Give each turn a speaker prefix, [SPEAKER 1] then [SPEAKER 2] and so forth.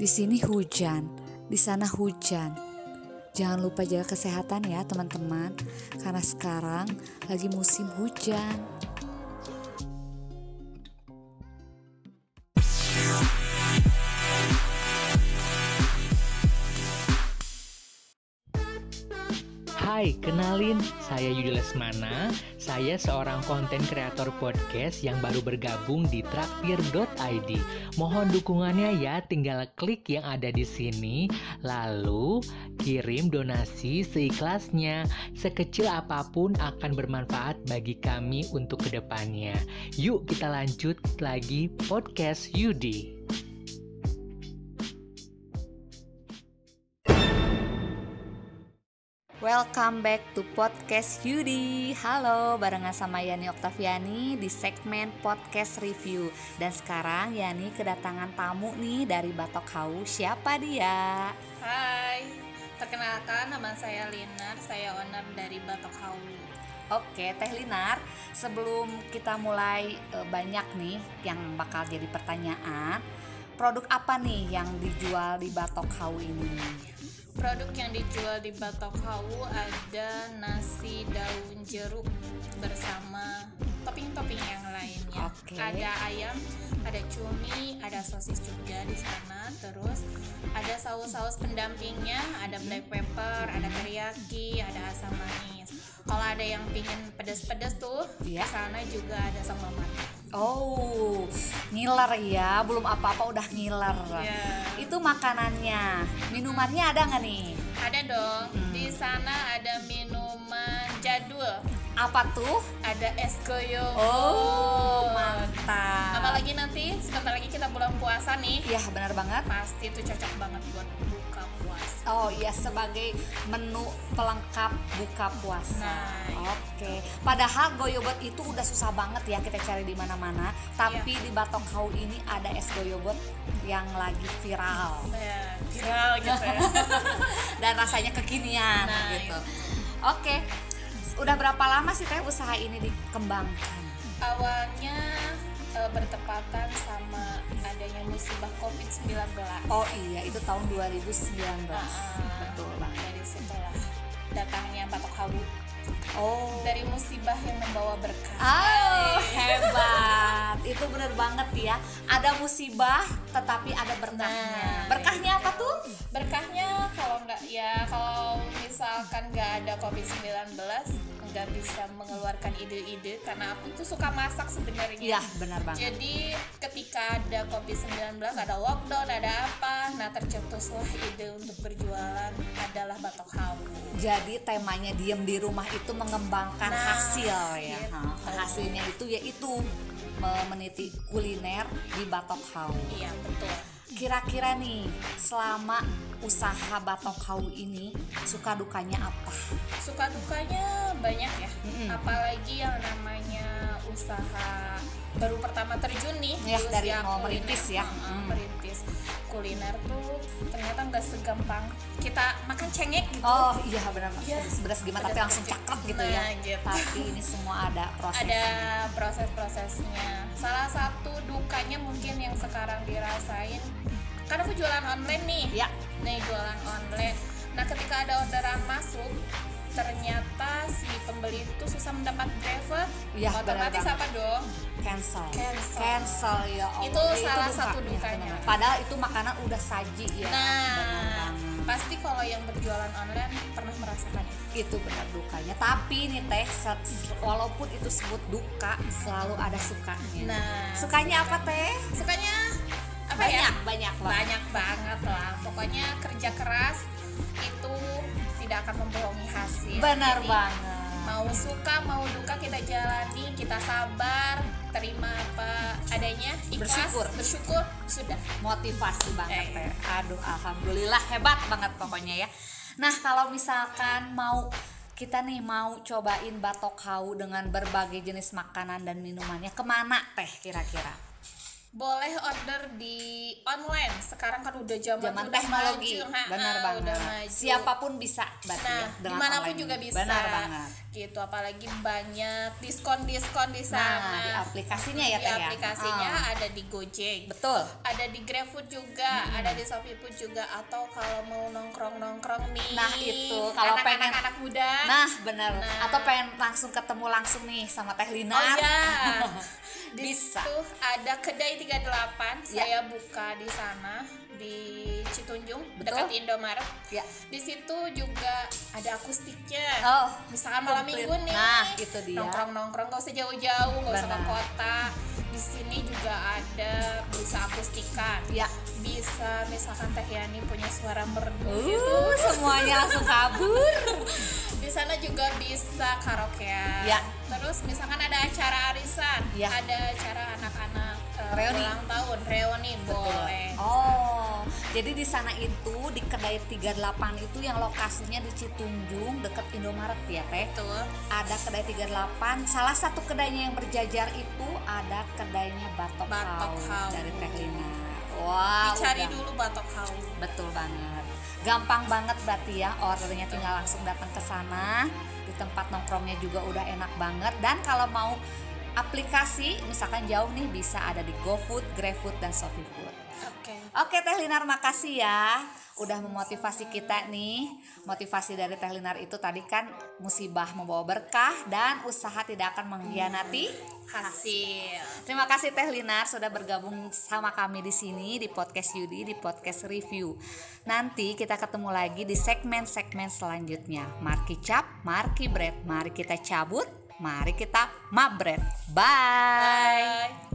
[SPEAKER 1] Di sini hujan, di sana hujan. Jangan lupa jaga kesehatan ya teman-teman, karena sekarang lagi musim hujan.
[SPEAKER 2] Hai, kenalin, saya Yudi Lesmana. Saya seorang konten kreator podcast yang baru bergabung di traktir.id. Mohon dukungannya ya, tinggal klik yang ada di sini, lalu kirim donasi seikhlasnya. Sekecil apapun akan bermanfaat bagi kami untuk kedepannya. Yuk kita lanjut lagi podcast Yudi.
[SPEAKER 1] Welcome back to Podcast Yudi Halo, barengan sama Yani Oktaviani di segmen Podcast Review Dan sekarang Yani kedatangan tamu nih dari Batok House Siapa dia?
[SPEAKER 3] Hai, perkenalkan nama saya Linar, saya owner dari Batok Haulu.
[SPEAKER 1] Oke, Teh Linar, sebelum kita mulai eh, banyak nih yang bakal jadi pertanyaan Produk apa nih yang dijual di Batok House ini?
[SPEAKER 3] Produk yang dijual di Batok Haulu ada nasi daun jeruk bersama topping-topping yang lainnya.
[SPEAKER 1] Oke.
[SPEAKER 3] Ada ayam, ada cumi, ada sosis juga di sana. Terus ada saus-saus pendampingnya, ada black pepper, ada teriyaki, ada asam manis. Kalau ada yang pingin pedas-pedas tuh, di
[SPEAKER 1] Iya.
[SPEAKER 3] sana juga ada sambal matah.
[SPEAKER 1] Oh, ngiler ya, belum apa-apa udah ngiler
[SPEAKER 3] Iya. Hmm.
[SPEAKER 1] Itu makanannya, minumannya ada nggak nih?
[SPEAKER 3] Ada dong.
[SPEAKER 1] Hmm.
[SPEAKER 3] Di sana ada minuman jadul.
[SPEAKER 1] Apa tuh?
[SPEAKER 3] Ada es goyong.
[SPEAKER 1] Oh, mantap.
[SPEAKER 3] Apalagi nanti sebentar lagi kita bulan puasa nih.
[SPEAKER 1] Iya, benar banget.
[SPEAKER 3] Pasti itu cocok banget buat buka puasa.
[SPEAKER 1] Oh iya sebagai menu pelengkap buka puasa.
[SPEAKER 3] Nah, iya.
[SPEAKER 1] Oke. Padahal goyobot itu udah susah banget ya kita cari di mana-mana. Tapi
[SPEAKER 3] Iya.
[SPEAKER 1] di Batok Kau ini ada es goyobot yang lagi viral
[SPEAKER 3] Ya, viral gitu ya.
[SPEAKER 1] dan rasanya kekinian
[SPEAKER 3] Nah,
[SPEAKER 1] gitu. Oke. Udah berapa lama sih teh usaha ini dikembangkan?
[SPEAKER 3] Awalnya eh, bertepatan sama adanya musibah Covid-19.
[SPEAKER 1] Oh iya, itu tahun 2019.
[SPEAKER 3] Nah,
[SPEAKER 1] Betul banget.
[SPEAKER 3] Dari situlah datangnya batok hawu
[SPEAKER 1] Oh.
[SPEAKER 3] dari musibah yang membawa berkah.
[SPEAKER 1] Oh, hebat. Itu bener banget ya. Ada musibah tetapi ada berkahnya.
[SPEAKER 3] Nah,
[SPEAKER 1] Berkahnya apa tuh?
[SPEAKER 3] berkahnya kalau nggak ya kalau misalkan nggak ada covid 19 nggak bisa mengeluarkan ide-ide karena aku tuh suka masak sebenarnya
[SPEAKER 1] Iya, benar banget.
[SPEAKER 3] jadi ketika ada covid 19 ada lockdown ada apa nah tercetuslah ide untuk berjualan adalah batok hawu
[SPEAKER 1] Jadi temanya diem di rumah itu mengembangkan
[SPEAKER 3] Nah,
[SPEAKER 1] hasil ya.
[SPEAKER 3] gitu.
[SPEAKER 1] Nah, hasilnya itu yaitu meniti kuliner di Batok Hau.
[SPEAKER 3] iya betul
[SPEAKER 1] Kira-kira nih selama usaha Batok Hau ini suka dukanya apa?
[SPEAKER 3] suka dukanya banyak ya
[SPEAKER 1] Mm-mm.
[SPEAKER 3] apalagi yang namanya usaha baru pertama terjun nih
[SPEAKER 1] Ya,
[SPEAKER 3] di
[SPEAKER 1] dari
[SPEAKER 3] usia
[SPEAKER 1] mau
[SPEAKER 3] kuliner.
[SPEAKER 1] merintis ya.
[SPEAKER 3] Heeh,
[SPEAKER 1] Hmm.
[SPEAKER 3] merintis kuliner tuh ternyata nggak segampang kita makan cengek gitu
[SPEAKER 1] Oh iya benar
[SPEAKER 3] Iya.
[SPEAKER 1] beras gimana tapi
[SPEAKER 3] Pedas
[SPEAKER 1] langsung
[SPEAKER 3] kecil.
[SPEAKER 1] cakep gitu
[SPEAKER 3] Nah,
[SPEAKER 1] ya.
[SPEAKER 3] gitu.
[SPEAKER 1] Tapi ini semua ada proses.
[SPEAKER 3] ada
[SPEAKER 1] iya
[SPEAKER 3] proses-prosesnya salah satu dukanya mungkin yang sekarang dirasain karena aku jualan online nih
[SPEAKER 1] Ya.
[SPEAKER 3] nih jualan online nah ketika ada orderan masuk ternyata si pembeli itu susah mendapat driver
[SPEAKER 1] Iya, benar
[SPEAKER 3] otomatis
[SPEAKER 1] banget.
[SPEAKER 3] apa dong
[SPEAKER 1] cancel
[SPEAKER 3] Cancel.
[SPEAKER 1] Cancel, ya Allah
[SPEAKER 3] Itu salah satu
[SPEAKER 1] ya,
[SPEAKER 3] dukanya.
[SPEAKER 1] benar. padahal itu makanan udah saji ya benar
[SPEAKER 3] nah
[SPEAKER 1] banget.
[SPEAKER 3] pasti kalau yang berjualan online pernah merasakan ya. itu
[SPEAKER 1] itu benar dukanya tapi nih teh se- se- walaupun itu sebut duka selalu ada sukanya
[SPEAKER 3] nah
[SPEAKER 1] sukanya apa teh
[SPEAKER 3] sukanya apa ya
[SPEAKER 1] banyak banyak banget
[SPEAKER 3] banyak banget lah pokoknya kerja keras itu tidak akan membohongi hasil
[SPEAKER 1] benar
[SPEAKER 3] Jadi,
[SPEAKER 1] banget
[SPEAKER 3] mau suka mau duka kita jalani kita sabar terima apa adanya ikhlas
[SPEAKER 1] Bersyukur.
[SPEAKER 3] bersyukur sudah
[SPEAKER 1] motivasi banget
[SPEAKER 3] Eh.
[SPEAKER 1] teh aduh alhamdulillah hebat banget pokoknya ya nah kalau misalkan mau kita nih mau cobain batok hau dengan berbagai jenis makanan dan minumannya kemana teh kira-kira
[SPEAKER 3] boleh order di online sekarang kan udah zaman,
[SPEAKER 1] zaman
[SPEAKER 3] udah
[SPEAKER 1] teknologi
[SPEAKER 3] maju, ha-ha,
[SPEAKER 1] benar banget
[SPEAKER 3] udah maju.
[SPEAKER 1] siapapun bisa berarti
[SPEAKER 3] nah
[SPEAKER 1] ya, dengan
[SPEAKER 3] dimanapun
[SPEAKER 1] online.
[SPEAKER 3] juga bisa
[SPEAKER 1] benar banget
[SPEAKER 3] gitu apalagi banyak diskon-diskon
[SPEAKER 1] Nah,
[SPEAKER 3] di
[SPEAKER 1] di
[SPEAKER 3] sana
[SPEAKER 1] aplikasinya ya
[SPEAKER 3] di
[SPEAKER 1] Teh ya?
[SPEAKER 3] aplikasinya
[SPEAKER 1] Ah.
[SPEAKER 3] ada di Gojek
[SPEAKER 1] Betul.
[SPEAKER 3] ada di GrabFood juga, ada di ShopeeFood juga atau kalau mau nongkrong-nongkrong nih.
[SPEAKER 1] Nah, itu. Kalau
[SPEAKER 3] anak,
[SPEAKER 1] pengen-
[SPEAKER 3] anak, anak muda.
[SPEAKER 1] Nah, bener.
[SPEAKER 3] Nah.
[SPEAKER 1] Atau pengen langsung ketemu langsung nih sama Teh Lina.
[SPEAKER 3] Oh ya, di
[SPEAKER 1] Bisa.
[SPEAKER 3] situ ada kedai 38.
[SPEAKER 1] Ya.
[SPEAKER 3] Saya buka di sana di Citunjung
[SPEAKER 1] Betul.
[SPEAKER 3] dekat Indomaret.
[SPEAKER 1] Ya.
[SPEAKER 3] Di situ juga ada akustiknya.
[SPEAKER 1] Oh,
[SPEAKER 3] Misalkan malam
[SPEAKER 1] komplit.
[SPEAKER 3] minggu nih.
[SPEAKER 1] Nah, itu dia.
[SPEAKER 3] Nongkrong-nongkrong gak usah jauh-jauh, gak usah ke
[SPEAKER 1] Benar.
[SPEAKER 3] kota. Di sini juga ada bisa akustikan.
[SPEAKER 1] Ya.
[SPEAKER 3] Bisa misalkan Teh Yani punya suara merdu gitu.
[SPEAKER 1] Uh, semuanya langsung kabur.
[SPEAKER 3] Di sana juga bisa karaokean.
[SPEAKER 1] Ya.
[SPEAKER 3] Terus misalkan ada acara arisan,
[SPEAKER 1] Ya.
[SPEAKER 3] ada acara anak-anak eh,
[SPEAKER 1] Reuni.
[SPEAKER 3] ulang tahun, reuni boleh.
[SPEAKER 1] Oh, jadi di sana itu di kedai 38 itu yang lokasinya di Citunjung deket Indomaret ya Teh.
[SPEAKER 3] Betul.
[SPEAKER 1] Ada kedai 38. Salah satu kedainya yang berjajar itu ada kedainya Batok,
[SPEAKER 3] Batok
[SPEAKER 1] House
[SPEAKER 3] House.
[SPEAKER 1] dari Teh Lina. Wow.
[SPEAKER 3] Dicari
[SPEAKER 1] udah.
[SPEAKER 3] dulu Batok Hawu.
[SPEAKER 1] Betul banget. Gampang banget berarti ya ordernya tinggal langsung datang ke sana. Di tempat nongkrongnya juga udah enak banget dan kalau mau aplikasi misalkan jauh nih bisa ada di GoFood, GrabFood dan ShopeeFood.
[SPEAKER 3] Oke.
[SPEAKER 1] Oke Teh Linar makasih ya udah memotivasi kita nih. Motivasi dari Teh Linar itu tadi kan musibah membawa berkah dan usaha tidak akan mengkhianati
[SPEAKER 3] Hasil.
[SPEAKER 1] Terima kasih Teh Linar sudah bergabung sama kami di sini di podcast Yudi di podcast review. Nanti kita ketemu lagi di segmen-segmen selanjutnya. Marki cap, marki bread. Mari kita cabut, mari kita mabret. Bye.
[SPEAKER 3] Bye.